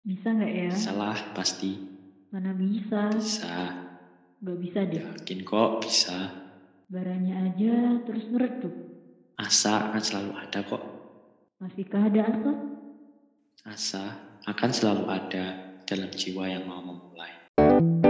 Bisa nggak ya? Salah pasti. Mana bisa? Bisa. Gak bisa deh. Yakin kok bisa. Baranya aja terus meredup. Asa akan selalu ada kok. Masihkah ada asap? Asa akan selalu ada dalam jiwa yang mau memulai.